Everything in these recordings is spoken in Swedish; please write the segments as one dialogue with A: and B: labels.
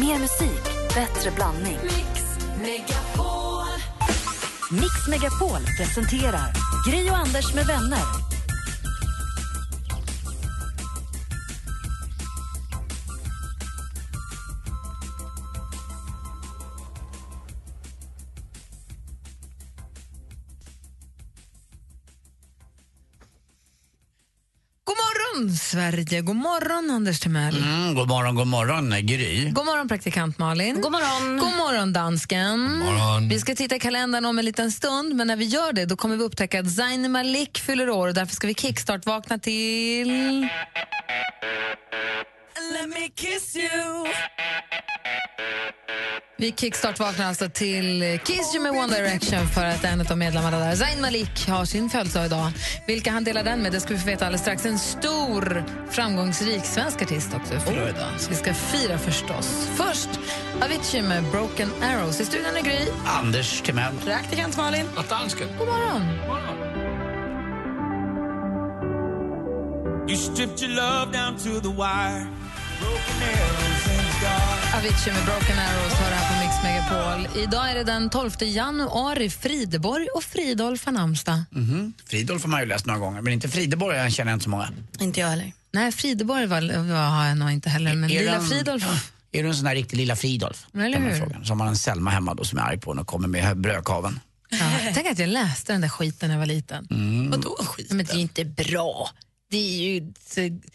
A: Mer musik, bättre blandning.
B: Mix Megapol.
A: Mix Megapol presenterar Gri och Anders med vänner.
C: God morgon, Sverige! God morgon, Anders Timell!
D: Mm, god morgon, god morgon, Gry.
C: God morgon, praktikant Malin. God morgon, God morgon dansken.
D: morgon.
C: Vi ska titta i kalendern om en liten stund, men när vi gör det då kommer vi upptäcka att Zayn Malik fyller år och därför ska vi kickstart-vakna till...
B: Let me kiss you.
C: Vi kickstart-vaknar alltså till Kiss You Med One Direction för att en av medlemmarna där, Zayn Malik, har sin födelsedag idag. Vilka han delar den med det ska vi få veta alldeles strax. En stor, framgångsrik svensk artist också fyller år idag. Så vi ska fira förstås. Först Avicii med Broken Arrows. I studion är Gry.
D: Anders Timell.
B: Praktikant Malin.
E: Dansken.
C: God morgon!
F: You stripped your love down to the wire. Broken arrows in the dark.
C: Avicii med Broken Arrows hör här på Mix Megapol. Idag är det den 12 januari. Frideborg och Fridolf har namnsdag.
D: Mhm. Fridolf har man ju läst några gånger, men inte Frideborg jag känner jag inte så många.
B: Inte jag heller.
C: Nej, Frideborg var, var, har jag nog inte heller, men
D: Är
C: Lilla
D: den-
C: Fridolf.
D: Är du en sån där riktig lilla Fridolf?
C: Eller
D: Kan man
C: hur?
D: fråga. Så har man en Selma hemma då som är arg på henne och kommer med brödkaveln.
C: Ja, tänk att jag läste den där skiten när jag var liten.
D: Mm.
B: Vadå skit?
C: Men det är ju inte bra. Det är ju så-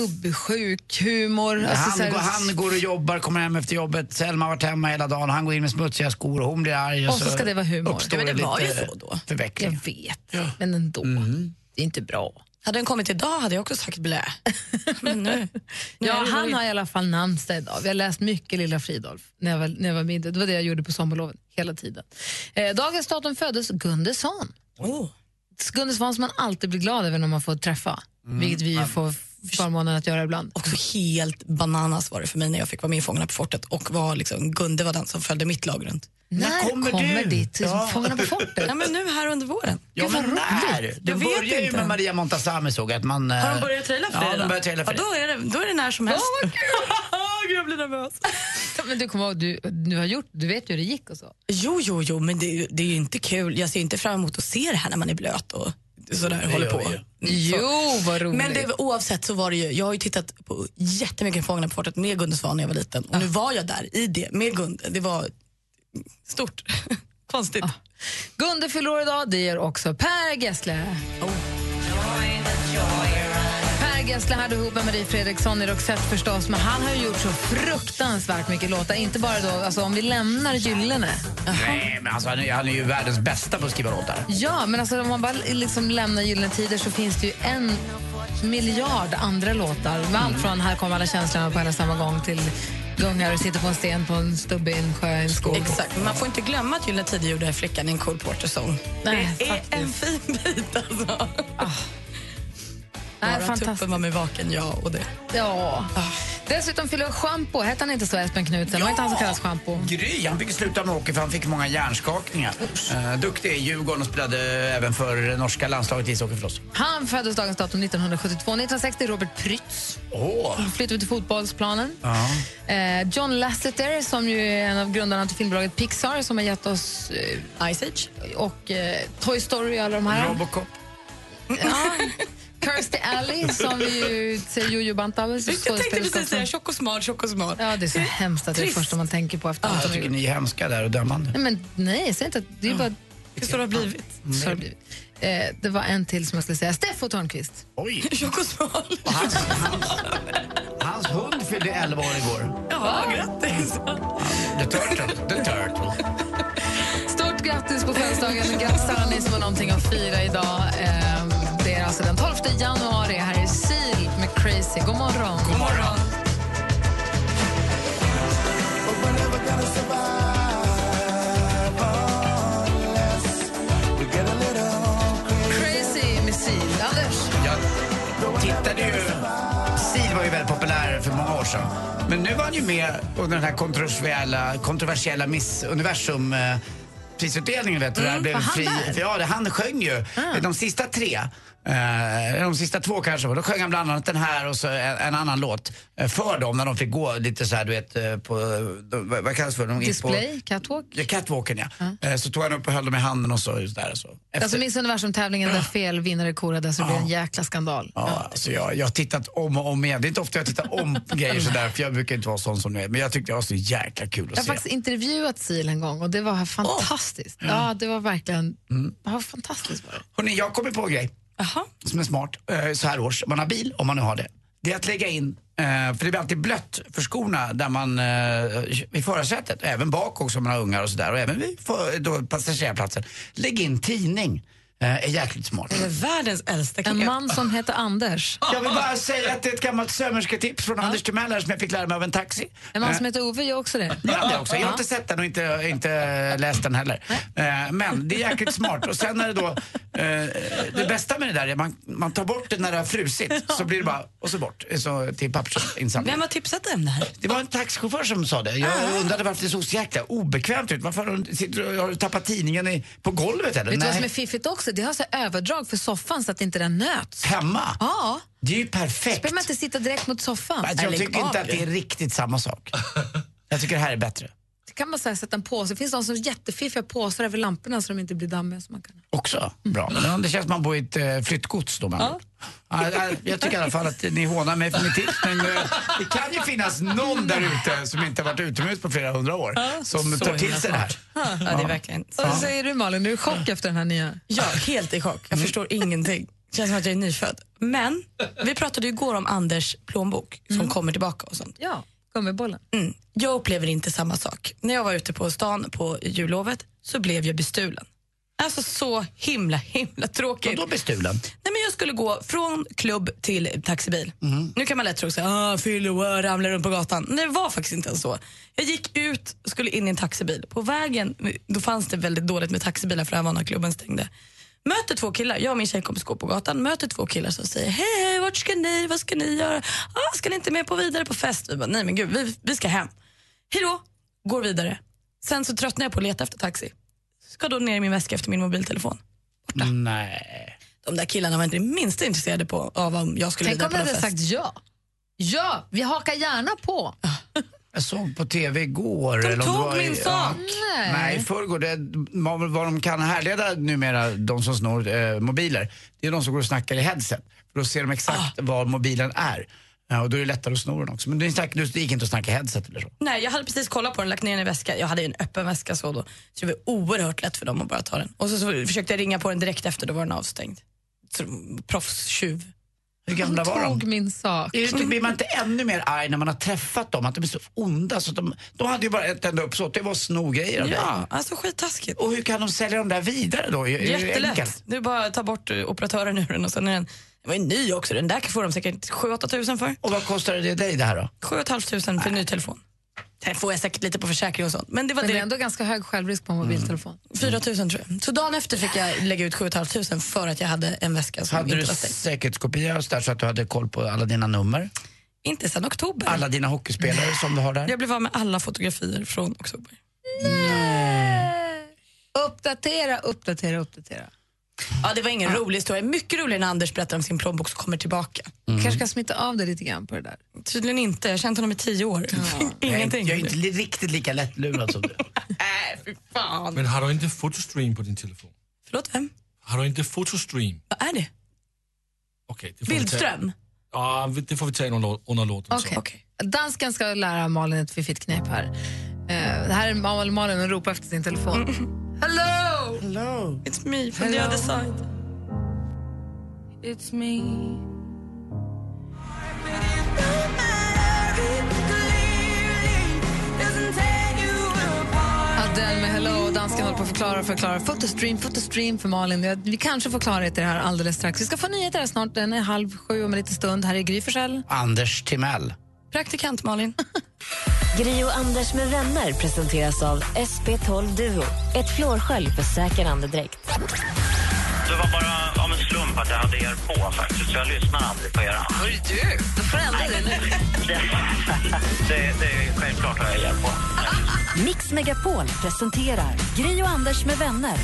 C: gubbsjuk humor. Alltså, så
D: han,
C: här-
D: går, han går och jobbar, kommer hem efter jobbet. Selma har varit hemma hela dagen. Han går in med smutsiga skor och hon blir arg.
C: Och så ska det vara humor.
D: uppstår
C: Ja, men
B: det var
D: lite
B: ju så då.
C: jag
D: Förveckling.
C: vet, men ändå.
D: Mm.
C: Det är inte bra.
B: Hade den kommit idag hade jag också sagt blä. Men nu.
C: Ja,
B: Nej,
C: han har i alla fall namnsdag idag. Vi har läst mycket Lilla Fridolf när jag var, när jag var mindre. Det var det jag gjorde på sommarlovet hela tiden. Eh, dagens datum föddes Gunde Svan.
B: Oh.
C: Gunde Svan som man alltid blir glad över när man får träffa, vilket vi ju får förmånen att göra ibland.
B: Också helt bananas var det för mig när jag fick vara med i Fångarna på fortet och var liksom, Gunde var den som följde mitt lag runt.
C: När kommer,
D: kommer du?
C: ditt
D: Ja.
C: Fångarna på fortet?
B: Ja, men nu här under våren.
D: Ja,
C: Gud,
D: men
C: vad
D: när?
C: roligt.
D: Det
B: Jag vet
D: börjar ju
B: inte.
D: med Maria Montazami såg jag att man...
B: Har de börjat traila för
D: ja,
B: dig
D: Ja, de
B: redan?
D: börjar traila för
B: ja,
D: dig.
B: då, är det, då är det när som helst. Åh, gud, jag blir nervös.
C: Men du, kommer ihåg, du, du, har gjort, du vet ju hur det gick och så.
B: Jo, jo, jo, men det, är ju- det är ju inte kul. Jag ser inte fram emot att se det här när man är blöt och sådär håller
D: gör
B: på.
D: vi ju.
B: Mm, så.
C: Jo, vad roligt.
B: Men det, oavsett så var det ju, jag har ju tittat på jättemycket Fångarna på fortet med Gunde Svan när jag var liten och nu
C: Ah.
B: var jag där i det med Gunde. Det var stort. Konstigt.
C: Ah, Gunde fyller år idag, det gör också Per Gessle. Per Gessle hade ihop med Marie Fredriksson i Roxette förstås, men han har ju gjort så fruktansvärt mycket låtar. Inte bara då, alltså om vi lämnar Gyllene.
D: Nej, men alltså, han, är, han är ju världens bästa på att skriva låtar.
C: Ja, men alltså om man bara liksom lämnar Gyllene Tider så finns det ju en miljard andra låtar. Med allt från Här kommer alla känslorna på en och samma gång till Gungar och sitter på en sten på en stubbe i en sjö i en skog.
B: Exakt, men man får inte glömma att Gyllene Tider gjorde Flickan i en Cole Porter-sång.
C: Nej,
B: det är en fin bit alltså.
C: Nej,
B: Bara
C: fantastiskt.
B: tuppen var med vaken, ja och det.
C: Ja. Dessutom fyller Schampo, hette han inte så, Espen Knuten? Var inte han som kallas Schampo?
D: Gry, han fick sluta med hockey för han fick många hjärnskakningar. Eh, duktig i Djurgården och spelade även för norska landslaget i ishockey förstås.
C: Han föddes dagens datum 1972. 1960 Robert Prytz.
D: Åh!
C: Flyttade till fotbollsplanen.
D: Ja.
C: Eh, John Lasseter, som ju är en av grundarna till filmbolaget Pixar som har gett oss... Eh,
B: Ice Age.
C: och eh, Toy Story och alla de här.
D: Robocop.
C: Ja. Kirsty Alley, som ju säger Jojo Bantabes.
B: Jag tänkte precis säga
C: skådespelerskan som-
B: tjock och smal, tjock och smal.
C: Ja, det är så hemskt att det är det
B: Trist.
C: första man tänker på efter allt
D: Jag
C: de har
D: tycker
C: gjort.
D: ni är hemska där och dömande.
C: Nej, men nej, säg inte att... Det är bara
B: Hur så det har blivit.
C: så har det blivit. Eh, det var en till som jag skulle säga. Steffo Törnqvist.
D: Oj!
B: Tjock och smal.
D: Hans, hans hund fyllde 11 år igår.
B: Ja, grattis.
D: The Turtle. The Turtle.
C: Stort grattis på födelsedagen. Grattis alla ni som har någonting att fira idag. Eh, Det är alltså den 12 januari. Här är Seal med Crazy. God morgon.
D: God morgon!
C: Crazy med Seal. Anders?
D: Jag tittade ju... Sil var ju väldigt populär för många år sedan. Men nu var han ju med under den här kontroversiella, kontroversiella Miss Universum eh, prisutdelningen vet du, där blev
C: Mm, var han
D: fri,
C: där? Ah.
D: för ja, det, han sjöng ju de sista tre Eh, de sista två kanske, och då sjöng han bland annat den här och så en, en annan låt eh, för dem när de fick gå lite så här, du vet, eh, på, de, vad vad kallas det för? De gick På,
C: Display, catwalk.
D: Ja, catwalken ja. Eh, Så tog han upp och höll dem i handen och så. just Där, och så. Efter,
C: Alltså Miss Universum-tävlingen där fel vinnare korades så det blev en jäkla skandal.
D: ja, alltså jag, jag har tittat om och om igen. Det är inte ofta jag tittar om grejer sådär för jag brukar inte vara sån som nu är. Men jag tyckte det var så jäkla kul
C: Jag
D: att
C: har
D: se.
C: faktiskt intervjuat Sil en gång och det var fantastiskt. Ja, Mm. det var verkligen ja, fantastiskt. Var det.
D: Hörrni, jag kommer på en grej.
B: Jaha.
D: som är smart eh, så här års, om man har bil, om man nu har det, det är att lägga in, eh, för det blir alltid blött för skorna där man, eh, i förarsätet, även bak också om man har ungar och sådär, och även vid för- då passagerarplatsen. Lägg in tidning, eh, är jäkligt smart.
B: Det är världens äldsta
C: En
B: knep.
C: man som heter Anders.
D: Jag vill bara säga att det är ett gammalt sömmersketips från Anders Timell som jag fick lära mig av en taxi.
C: En man som heter Ove gör också det.
D: Ja, det också. Jag har inte sett den och inte, inte läst den heller. Eh, Men det är jäkligt smart. Och sen är det då, eh, det bästa med det där är att man, man tar bort det när det har frusit. Så blir det bara, och så bort, eh, så till pappersinsamling.
B: Vem har tipsat dig om det här?
D: Det var en taxichaufför som sa det. Jag undrade varför det såg så jäkla obekvämt ut. Varför har du- sitter du- har du tappat tidningen i, på golvet eller?
C: Vet du vad som är fiffigt också? Det har så här överdrag för soffan så att inte den nöts.
D: Hemma?
C: Ja,
D: Det är ju
C: då
D: perfekt.
C: behöver man inte sitta direkt mot soffan.
D: Alltså, jag tycker inte att det är riktigt samma sak. Jag tycker det här är bättre.
C: Det kan man så här sätta en påse. Det finns de som är jättefiffiga påsar över lamporna så de inte blir dammiga. Så man kan.
D: Också bra. Men Mm. det känns som man bor i ett eh, flyttgods då med andra ord. ja. ja, Jag tycker i alla fall att ni hånar mig för mitt tips men eh, det kan ju finnas någon där ute som inte har varit utomhus på flera hundra år som
B: så
D: tar till
B: himla
D: sig det här.
B: Ja, det är verkligen...
C: Vad säger du Malin? Du är i chock efter den här nya.
B: Jag är helt i chock. Jag förstår ingenting. Känns som att jag är nyfödd. Men vi pratade ju igår om Anders plånbok som kommer tillbaka och sånt.
C: Ja, gummibollen.
B: Mm. Jag upplever inte samma sak. När jag var ute på stan på jullovet så blev jag bestulen. Alltså så himla, himla
D: Och
B: tråkigt.
D: då blir stulen.
B: Nej, men jag skulle gå från klubb till taxibil. Nu kan man lätt tro att ah, fyllo, ah, ramlar runt på gatan. Nej, det var faktiskt inte ens så. Jag gick ut skulle in i en taxibil. På vägen då fanns det väldigt dåligt med taxibilar för det här var när klubben stängde. Möter två killar, jag och min tjejkompis går på gatan, möter två killar som säger hej, hej, vart ska ni, vad ska ni göra? Ah, ska ni inte med på vidare på fest? Vi bara, nej men gud, vi, vi ska hem. Hej då, går vidare. Sen så tröttnar jag på att leta efter taxi. Ska då ner i min väska efter min mobiltelefon
D: Nej.
B: de där killarna var inte det minsta intresserade på, av om jag skulle
C: Tänk
B: vidare
C: om
B: på
C: du
B: någon
C: hade
B: fest.
C: sagt ja. Ja, vi hakar gärna på.
D: Jag såg på TV igår.
B: De
D: eller om det
B: tog
D: var i-
B: min
D: ja.
B: sak!
C: Nej.
D: Nej, i förrgår. Det var väl vad de kan härleda numera, de som snor eh, mobiler, det är de som går och snackar i headset. För då ser de exakt var mobilen är. Ja, och då är det lättare att sno den också. Men det, är snack, det gick inte att snacka i headset eller så.
B: Nej, jag hade precis kollat på den, lagt ner den i väskan. Jag hade ju en öppen väska så då. Så det var oerhört lätt för dem att bara ta den. Och så, så försökte jag ringa på den direkt efter, då var den avstängd. Så, de- proffstjuv.
D: Hur
C: Hon
D: gamla var de?
C: tog min sak.
D: Är det inte- Blir man inte ännu mer arg när man har träffat dem? Att de är så onda? Så att de, de hade ju bara ett enda uppsåt, det var att sno grejer av dig.
B: Ja, alltså skittaskigt.
D: Och hur kan de sälja dem där vidare då? Är- är det enkelt?
B: Jättelätt. Du bara ta bort eh, operatören ur den och sen är den... Den var ju ny också, den där får de säkert 7-8 tusen för.
D: Och vad kostade det dig det här då?
B: 7 500 för en ny telefon. Det får jag säkert lite på försäkring och sånt. Men det var
C: Men det är
B: det.
C: ändå ganska hög självrisk på en mobiltelefon.
B: 4 000 tror jag. Så dagen efter fick jag lägga ut 7 500 för att jag hade en väska som
D: Hade
B: inte
D: du
B: var stängd.
D: säkerhetskopia och så där så att du hade koll på alla dina nummer?
B: Inte sedan oktober.
D: Alla dina hockeyspelare som du har där?
B: Jag blev av med alla fotografier från oktober.
D: Mm.
C: Uppdatera, uppdatera, uppdatera.
B: Ja, det var ingen rolig historia. Mycket roligare när Anders berättar om sin plånbok som kommer tillbaka.
D: Mm.
C: kanske ska smitta av dig lite grann på det där.
B: Tydligen inte. Jag har känt honom i tio år.
D: Jag är inte-
B: Ingenting.
D: Jag är inte li- riktigt lika lättlurad som du.
E: Men har du inte fotostream på din telefon?
B: Förlåt, vem?
E: Har du inte fotostream?
B: Vad är det?
E: Okej, det får vi
B: Bildström?
E: ta. Ja, vi- det får vi ta under, lå- under låten. så.
C: Okej. Dansken ska lära Malin ett fiffigt knep här. Eh, det här är Mal- Malin och ropar efter sin telefon. Hello!
B: It's me from the other side.
C: Adele med Hello och dansken håller på att förklara och förklara. Fotostream, fotostream för Malin. Jag- Vi kanske får klarhet i det här alldeles strax. Vi ska få nyheter här snart. Den är halv sju om en liten stund. Här är Gry Forssell.
D: Anders Timell.
B: Praktikant Malin.
A: Gri och Anders med vänner presenteras av SP12 Duo. Ett flårskölj för säker andedräkt.
G: Det var bara av en slump att jag hade er på faktiskt, så jag lyssnar aldrig på er annars. du, då får du ändra dig nu. Det, det är självklart har jag er på.
A: Mix Megapol presenterar Gri och Anders med vänner.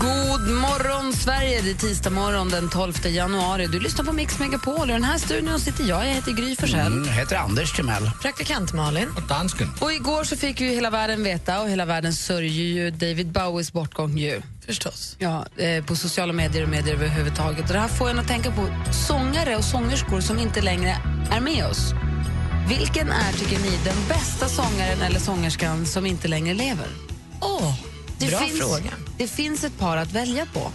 C: God morgon, Sverige! Det är tisdag morgon den 12 januari. Du lyssnar på Mix Megapol. och I den här studion sitter jag. Jag heter Gry Forssell.
D: Mm, heter Anders Timell.
C: Praktikant Malin.
E: Och dansken.
C: Och igår så fick ju hela världen veta och hela världen sörjer ju David Bowies bortgång ju.
B: Förstås.
C: Ja, eh, på sociala medier och medier överhuvudtaget. Och det här får en att tänka på sångare och sångerskor som inte längre är med oss. Vilken är, tycker ni, den bästa sångaren eller sångerskan som inte längre lever?
B: Åh,
C: Det
B: bra
C: finns,
B: fråga.
C: Det finns ett par att välja på.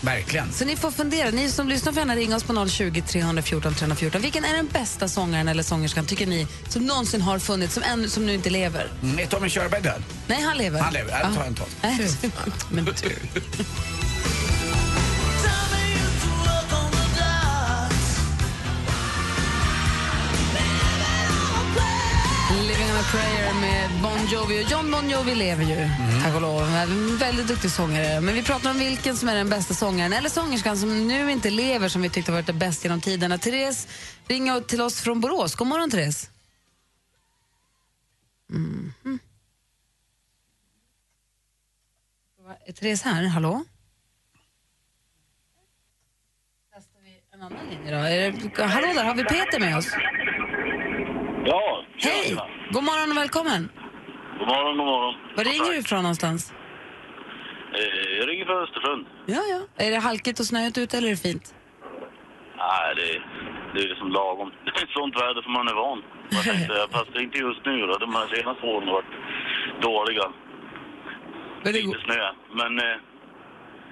D: Verkligen.
C: Så ni får fundera. Ni som lyssnar får gärna ringa oss på 020 314 314. Vilken är den bästa sångaren eller sångerskan, tycker ni, som någonsin har funnits, som, ännu, som nu inte lever?
D: Mm, är Tommy Körberg död?
C: Nej, han lever.
D: Han lever. Jag tar en tång.
C: Nej, men du. Living on a prayer med Bon Jovi. Och John Bon Jovi lever ju, tack och lov. En väldigt duktig sångare. Men vi pratar om vilken som är den bästa sångaren eller sångerskan som nu inte lever som vi tyckte varit det bäst genom tiderna. Therese ringer till oss från Borås. God morgon, Therese. Mm-hmm. Är Therese här? Hallå? Testar vi en annan linje då? Är det, hallå där, har vi Peter med oss?
G: Ja.
C: Hej! God morgon och välkommen.
G: God morgon, god morgon.
C: Var ringer du ifrån någonstans?
G: Eh, Jag ringer från Östersund.
C: Ja, ja. Är det halkigt och snöigt ute eller är det fint?
G: Nej, det, det är liksom lagom. Det är sånt väder som man är van. Jag tänkte, fast inte just nu då. De här senaste åren har varit dåliga.
C: Men det,
G: Lite snö. Men eh,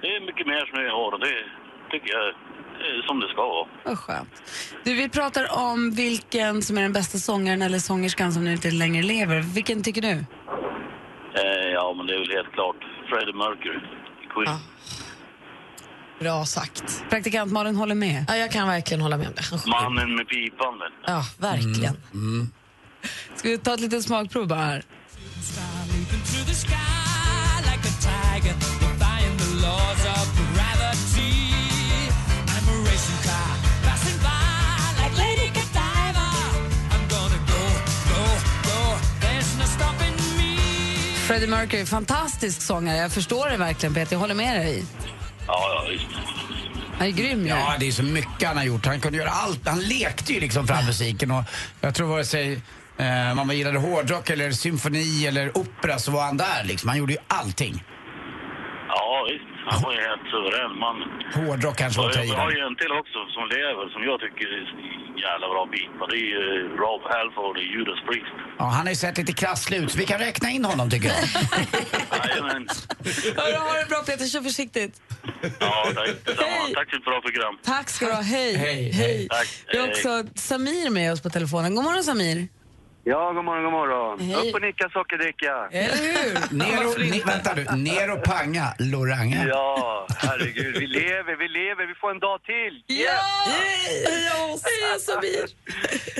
G: det är mycket mer snö i år och det tycker jag är som det ska vara.
C: vad skönt. Du, vi pratar om vilken som är den bästa sångaren eller sångerskan som nu inte längre lever. Vilken tycker du?
G: Eh, Ja, men det är väl helt klart Freddie Mercury. Queen.
H: Ja. Bra sagt.
C: Praktikant Malin håller med.
H: Ja, jag kan verkligen hålla med om det. Han sjunger.
G: Mannen med pipan, väl?
H: Ja,
B: Mm.
H: verkligen.
C: Ska vi ta ett litet smakprov bara här? Freddie Mercury, fantastisk sångare. Jag förstår det verkligen, Peter. Jag håller med dig.
G: Ja, ja, visst.
C: Han är grym ju.
D: Ja, det är så mycket han har gjort. Han kunde göra allt. Han lekte ju liksom fram musiken och jag tror vare sig eh, man gillade hårdrock eller symfoni eller opera så var han där liksom. Han gjorde ju allting.
G: Ja, visst. Han var ju helt suverän, mannen.
D: Hårdrock kanske var att ta
G: Jag
D: i
G: jag har ju
D: där.
G: en till också som lever, som jag tycker är en jävla bra bit. Och det är ju eh, Rob Halford i Judas Priest.
D: ja, Han har ju sett lite krasslig ut så vi kan räkna in honom tycker jag.
G: Jajamän.
C: Hörru, ha det bra Peter, kör försiktigt.
G: Ja, tack detsamma. Tack för ett bra program.
C: Tack ska du ha, hej.
D: Hej, hej.
G: Tack.
C: Vi har
G: Hej.
C: också Samir med oss på telefonen. God morgon Samir.
I: Ja, god morgon, god morgon.
C: Hej.
I: Upp och nicka sockerdricka.
C: Eller hur?
D: Ner och, ne, vänta du, ner och panga Loranga.
I: Ja, herregud, vi lever, vi lever, vi får en dag till.
C: Ja! Heja oss! Heja Samir!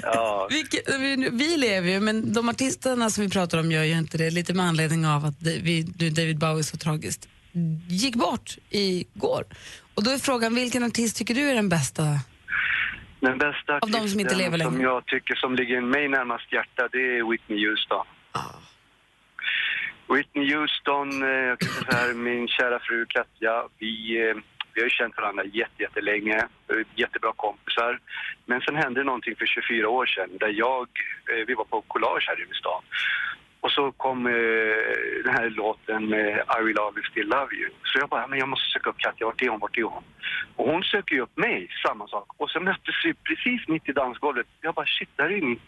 I: Ja,
C: Vilket- vi, vi lever ju, men de artisterna som vi pratar om gör ju inte det. Lite med anledning av att det- vi, nu David Bowie så tragiskt gick bort igår. Och då är frågan, vilken artist tycker du är den bästa?
I: den bästa
C: de som inte
I: artisten
C: lever längre.
I: som jag tycker som ligger mig närmast hjärta, det är Whitney Houston. Whitney Houston, eh, jag kan säga så här, min kära fru Katja, vi, eh, vi har ju känt varandra jätte, jättelänge, eh, jättebra kompisar. Men sen hände någonting för 24 år sedan där jag, eh, vi var på collage här i stan. Och så kom eh, den här låten med I will always still love you. Så jag bara, men jag måste söka upp Katja, vart är hon, vart är hon? Och hon söker ju upp mig, samma sak. Och så möttes vi precis mitt i dansgolvet. Jag bara, shit, där är ju min,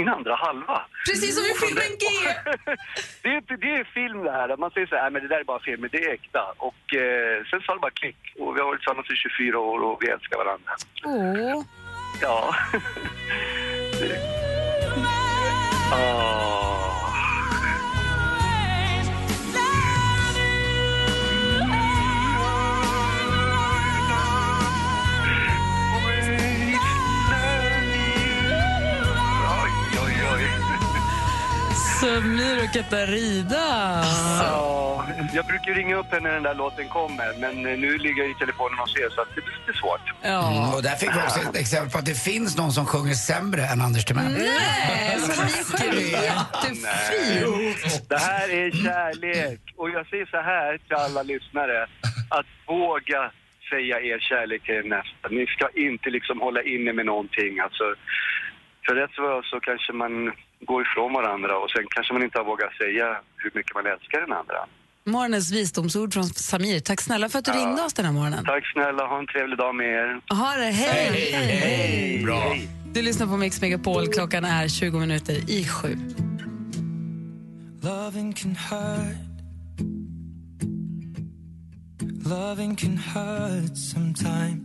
I: min andra halva.
C: Precis som i filmen G!
I: Det är, det är film det här. Man säger så här, "Nej, men det där är bara film, men det är äkta. Och eh, sen sa det bara klick. Och vi har varit tillsammans i 24 år och vi älskar varandra.
C: Åh.
I: Ja. Det- Ah. Åh. Oj, oj, oj.
C: Samir och Katarina.
I: Ja, jag brukar ringa upp henne när den där låten kommer, men eh, nu ligger jag i telefonen och ser så att det blir lite svårt.
D: Mm, och där fick vi också ett exempel på att det finns någon som sjunger sämre än Anders Timell.
C: Nej, Samir själv.
I: Nej. Det här är kärlek. Och jag säger så här till alla lyssnare. Att våga säga er kärlek till er nästa. Ni ska inte liksom hålla inne med någonting. Alltså, för rätt så vad så kanske man går ifrån varandra och sen kanske man inte har vågat säga hur mycket man älskar den andra.
C: Morgonens visdomsord från Samir. Tack snälla för att du
I: Ja.
C: ringde oss den här morgonen.
I: Tack snälla, ha en trevlig dag med er.
C: Ha det, hej!
I: Hej, hej. Bra. Hej.
C: Du lyssnar på Mix Megapol, klockan är 20 minuter i sju.
E: Loving can hurt. Loving can hurt sometimes.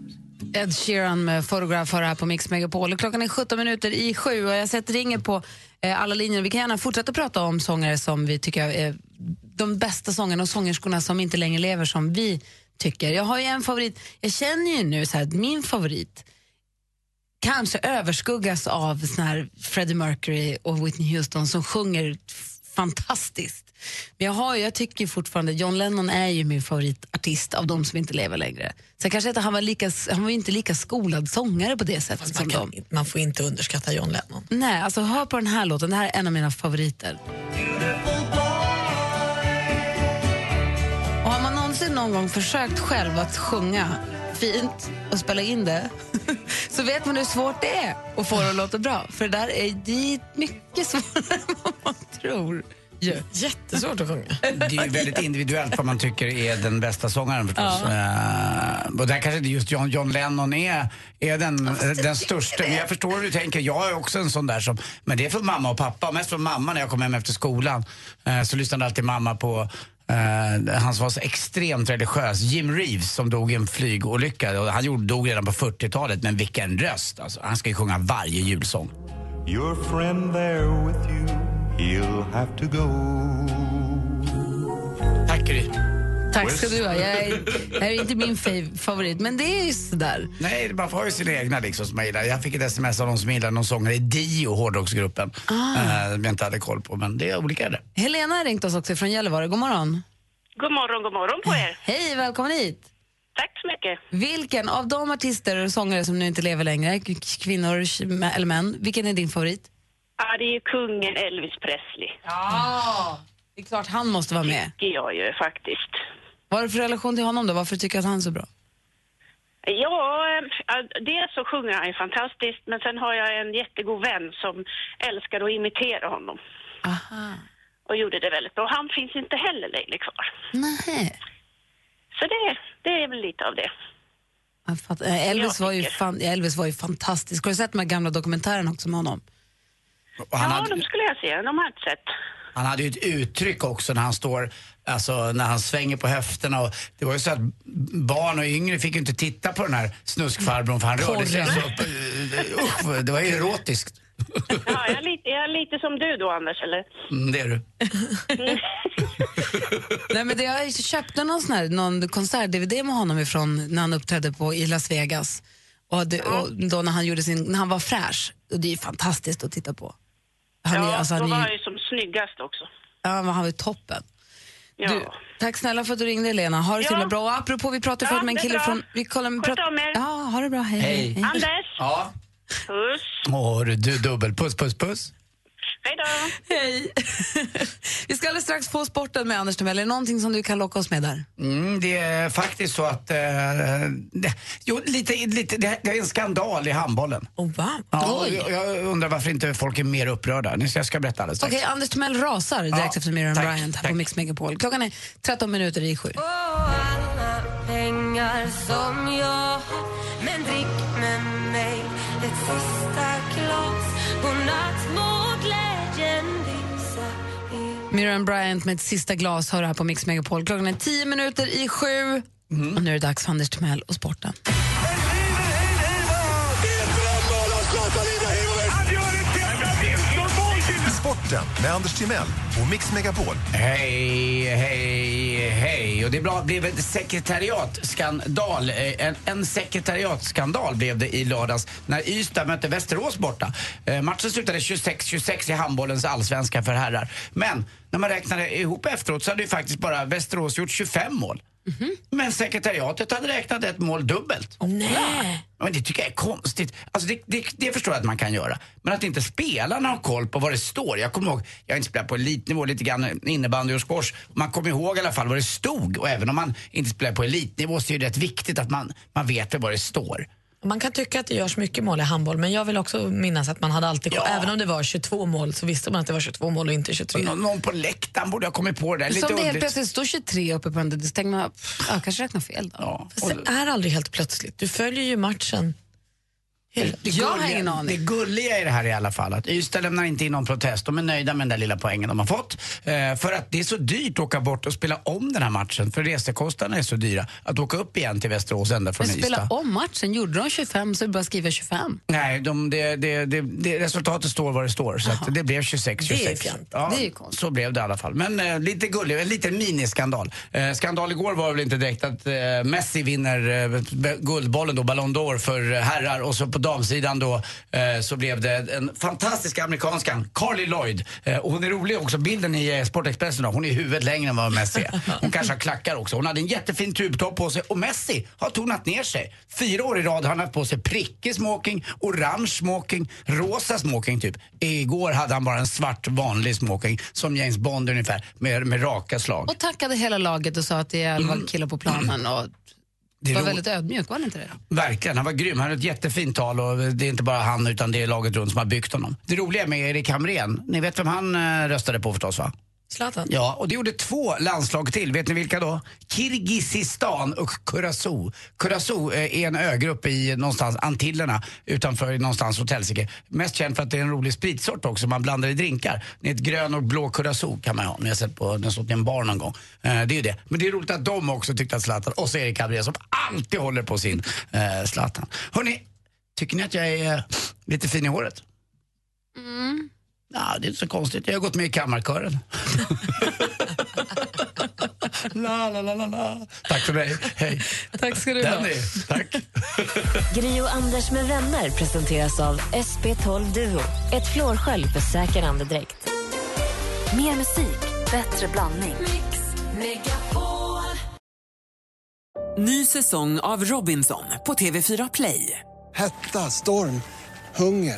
C: Ed Sheeran med Photograph för här på Mix Megapol. Och Klockan är 17 minuter i sju och jag sätter ringer på eh, alla linjer. Vi kan gärna fortsätta prata om sångare som vi tycker är eh, de bästa sångarna och sångerskorna som inte längre lever som vi tycker. Jag har ju en favorit. Jag känner ju nu så här att min favorit kanske överskuggas av sån här Freddie Mercury och Whitney Houston som sjunger f- fantastiskt. Men jag, har, ju- jag tycker fortfarande, John Lennon är ju min favoritartist av de som inte lever längre. Sen kanske inte han var, lika, han var ju inte lika skolad sångare på det sättet som dem.
B: Man får inte underskatta John Lennon.
C: Nej, alltså hör på den här låten, det här är en av mina favoriter. Och har man någonsin någon gång försökt själv att sjunga fint och spela in det så vet man hur svårt det är att få det att låta bra. För det där är det är mycket svårare än vad man tror.
B: Jättesvårt att sjunga.
D: Det är ju väldigt individuellt vad man tycker är den bästa sångaren förstås.
B: Ja.
D: Eh, och där kanske inte just John, John Lennon är, är den, den största. Men jag förstår hur du tänker. Jag är också en sån där som, men det är från mamma och pappa. Mest från mamma när jag kom hem efter skolan. eh, så lyssnade alltid mamma på eh, han som var så extremt religiös, Jim Reeves som dog i en flygolycka. Och Han gjorde, dog redan på 40-talet, men vilken röst! Alltså, han ska ju sjunga varje julsång.
G: Your friend there with you, he'll have to go.
D: Tack Gry.
C: Tack ska du ha. Jag är, det här är inte min fav- favorit, men det är ju sådär.
D: Nej, man får ju sina egna liksom som man gillar. Jag fick ett sms av någon som gillar någon sångare i Dio, hårdrocksgruppen.
C: Ah.
D: Eh, Som jag inte hade koll på, men det är olika det.
C: Helena har ringt oss också från Gällivare. God morgon.
J: God morgon, god morgon på er.
C: Hej, välkommen hit.
J: Tack så mycket.
C: Vilken av de artister och sångare som nu inte lever längre, k- kvinnor tj- eller män, vilken är din favorit?
J: Ja, det är ju kungen Elvis Presley.
C: Ja, det är klart han måste vara med.
J: tycker jag ju faktiskt.
C: Vad har du för relation till honom då? Varför tycker du att han är så bra?
J: Ja, eh, ja, dels så sjunger han ju fantastiskt, men sen har jag en jättegod vän som älskar att imitera honom.
C: Aha.
J: Och gjorde det väldigt bra. Och han finns inte heller längre kvar.
C: Nej.
J: Så det, det är väl lite av det.
C: Jag fattar. Eh, Elvis, var ju fan, Elvis var ju fantastisk. Har du sett de här gamla dokumentärerna också med honom?
D: Och han,
J: ja,
D: hade,
J: de skulle jag se. De har jag inte sett.
D: han hade ju ett uttryck också när han står, alltså när han svänger på höfterna. Och det var ju så att barn och yngre fick ju inte titta på den här snuskfarbrorn för han rörde sig
J: Porren.
D: så. eh, Usch, det var ju erotiskt.
J: Ja, jag är, lite, jag är lite som du då, Anders, eller?
D: Mm, det är du.
C: Nej, men det, jag köpte någon, sån här, någon konsert-DVD med honom ifrån när han uppträdde på, i Las Vegas. Och det, och då när, han gjorde sin, när han var fräsch. Och det är ju fantastiskt att titta på. Han är,
J: ja,
C: alltså, han
J: då
C: är
J: var
C: ju-
J: han ju som snyggast också.
C: Ja, men han var ju toppen.
J: Ja.
C: Du, tack snälla för att du ringde, Helena. Ha det så
J: Ja.
C: himla bra. Och apropå, vi pratade
J: Ja,
C: förut med en
J: det är
C: kille
J: bra.
C: från... Vi kollar,
J: Sköt om er.
C: Ja, ha det bra. Hej.
D: Hej.
J: Anders?
D: Ja.
J: Puss.
D: Åh, du, du dubbelpuss, puss, puss.
J: Hej då.
C: Hej. vi ska alldeles strax få sporten med Anders Timell. Är det någonting som du kan locka oss med där?
D: Mm, det är faktiskt så att... Eh, det, jo, lite, lite, det, det är en skandal i handbollen.
B: Oh, wow.
D: Ja, och jag, jag undrar varför inte folk är mer upprörda. Ni ska, jag ska berätta alldeles strax.
C: Okej, Anders Timell rasar direkt
D: Ja,
C: efter Miriam
D: tack,
C: Bryant här
D: tack.
C: på Mix Megapol. Klockan är 13 minuter i sju.
K: pengar som jag Men drick med mig ett sista glas Godnatt må glädjen lysa
C: Miriam Bryant med ett sista glas hör här på Mix Megapol. Klockan är 10 minuter i sju.
D: Mhm.
C: Och nu är det dags för Anders Timell och sporten.
G: Sporten med Anders Timell och Mix Megapol.
D: Hej, hej, hej. Och det bla- blev en sekretariatskandal. eh, En, en sekretariatskandal blev det i lördags när Ystad mötte Västerås borta. Eh, matchen slutade 26-26 i handbollens allsvenska för herrar. Men när man räknade ihop efteråt så hade ju faktiskt bara Västerås gjort 25 mål. Men sekretariatet hade räknat ett mål dubbelt.
B: nej.
D: Ja, men det tycker jag är konstigt. Alltså det, det, det förstår jag att man kan göra. Men att inte spelarna har koll på vad det står. Jag kommer ihåg, jag har inte spelat på elitnivå, lite grann innebandy och squash. Man kommer ihåg i alla fall vad det stod. Och även om man inte spelar på elitnivå så är det rätt viktigt att man, man vet vad det står.
B: Man kan tycka att det görs mycket mål i handboll, men jag vill också minnas att man hade alltid koll. Även om det var 22 mål så visste man att det var 22 mål och inte 23.
D: Någon, någon på läktaren borde ha kommit på det där. Lite
C: Som det helt
D: underligt.
C: plötsligt står 23 uppe på den, där, då tänker man, pff, jag kanske räknar fel då.
B: Fast det är aldrig helt plötsligt. Du följer ju matchen.
D: Det, det
C: Jag har
D: gulliga-
C: ingen aning.
D: Det gulliga i det här i alla fall att Ystad lämnar inte in någon protest. De är nöjda med den där lilla poängen de har fått. Eh, för att det är så dyrt att åka bort och spela om den här matchen. För resekostnaderna är så dyra. Att åka upp igen till Västerås ända från
C: Men spela
D: Ystad.
C: om matchen, gjorde de 25 så är det bara att skriva 25.
D: Nej, de, det, det, det, det, resultatet står vad det står. Så att det blev 26-26.
C: Det är fjantigt. Det är ju
D: så blev det i alla fall. Men eh, lite gullig, en liten miniskandal. Eh, skandal igår var väl inte direkt att eh, Messi vinner eh, b- Guldbollen då, Ballon d'Or för eh, herrar och så på damsidan då eh, så blev det en fantastisk amerikanskan, Carly Lloyd. Eh, och hon är rolig också, bilden i eh, Sportexpressen då, hon är i huvudet längre än vad Messi är. Hon kanske har klackar också. Hon hade en jättefin tubtopp på sig och Messi har tonat ner sig. Fyra år i rad har han haft på sig prickig smoking, orange smoking, rosa smoking typ. Igår hade han bara en svart vanlig smoking som James Bond ungefär med, med raka slag.
C: Och tackade hela laget och sa att det är elva
D: Mm.
C: killar på planen och
D: Det är
C: var
D: ro-
C: väldigt ödmjuk, var det inte det?
D: Verkligen, han var grym. Han hade ett jättefint tal och det är inte bara han utan det är laget runt som har byggt honom. Det roliga med Erik Hamrén, ni vet vem han eh, röstade på förstås va?
B: Zlatan.
D: Ja, och det gjorde två landslag till. Vet ni vilka då? Kirgizistan och Curacao. Curacao eh, är en ögrupp i någonstans Antillerna utanför någonstans Hotelsike. Mest känd för att det är en rolig spritsort också. Man blandar i drinkar. Det är ett grön och blå Curacao kan man ha. Ni har sett på, den har stått i en bar någon gång. Eh, Det är ju det. Men det är roligt att de också tyckte att Zlatan och så Erik Hamrén som alltid håller på sin eh, Zlatan. Hörrni, tycker ni att jag är eh, lite fin i håret?
C: Mm.
D: Ja, det är inte så konstigt. Jag har gått med i kammarkören. la, la, la, la, la. Tack för mig. Hej.
C: Tack ska
A: du ha.
D: Danny, tack.
A: Gri och Anders med vänner presenteras av SP12 Duo. Ett flårskölj för säker andedräkt. Mer musik, bättre blandning.
L: Ny säsong av Robinson på TV4 Play.
I: Hetta, storm, hunger.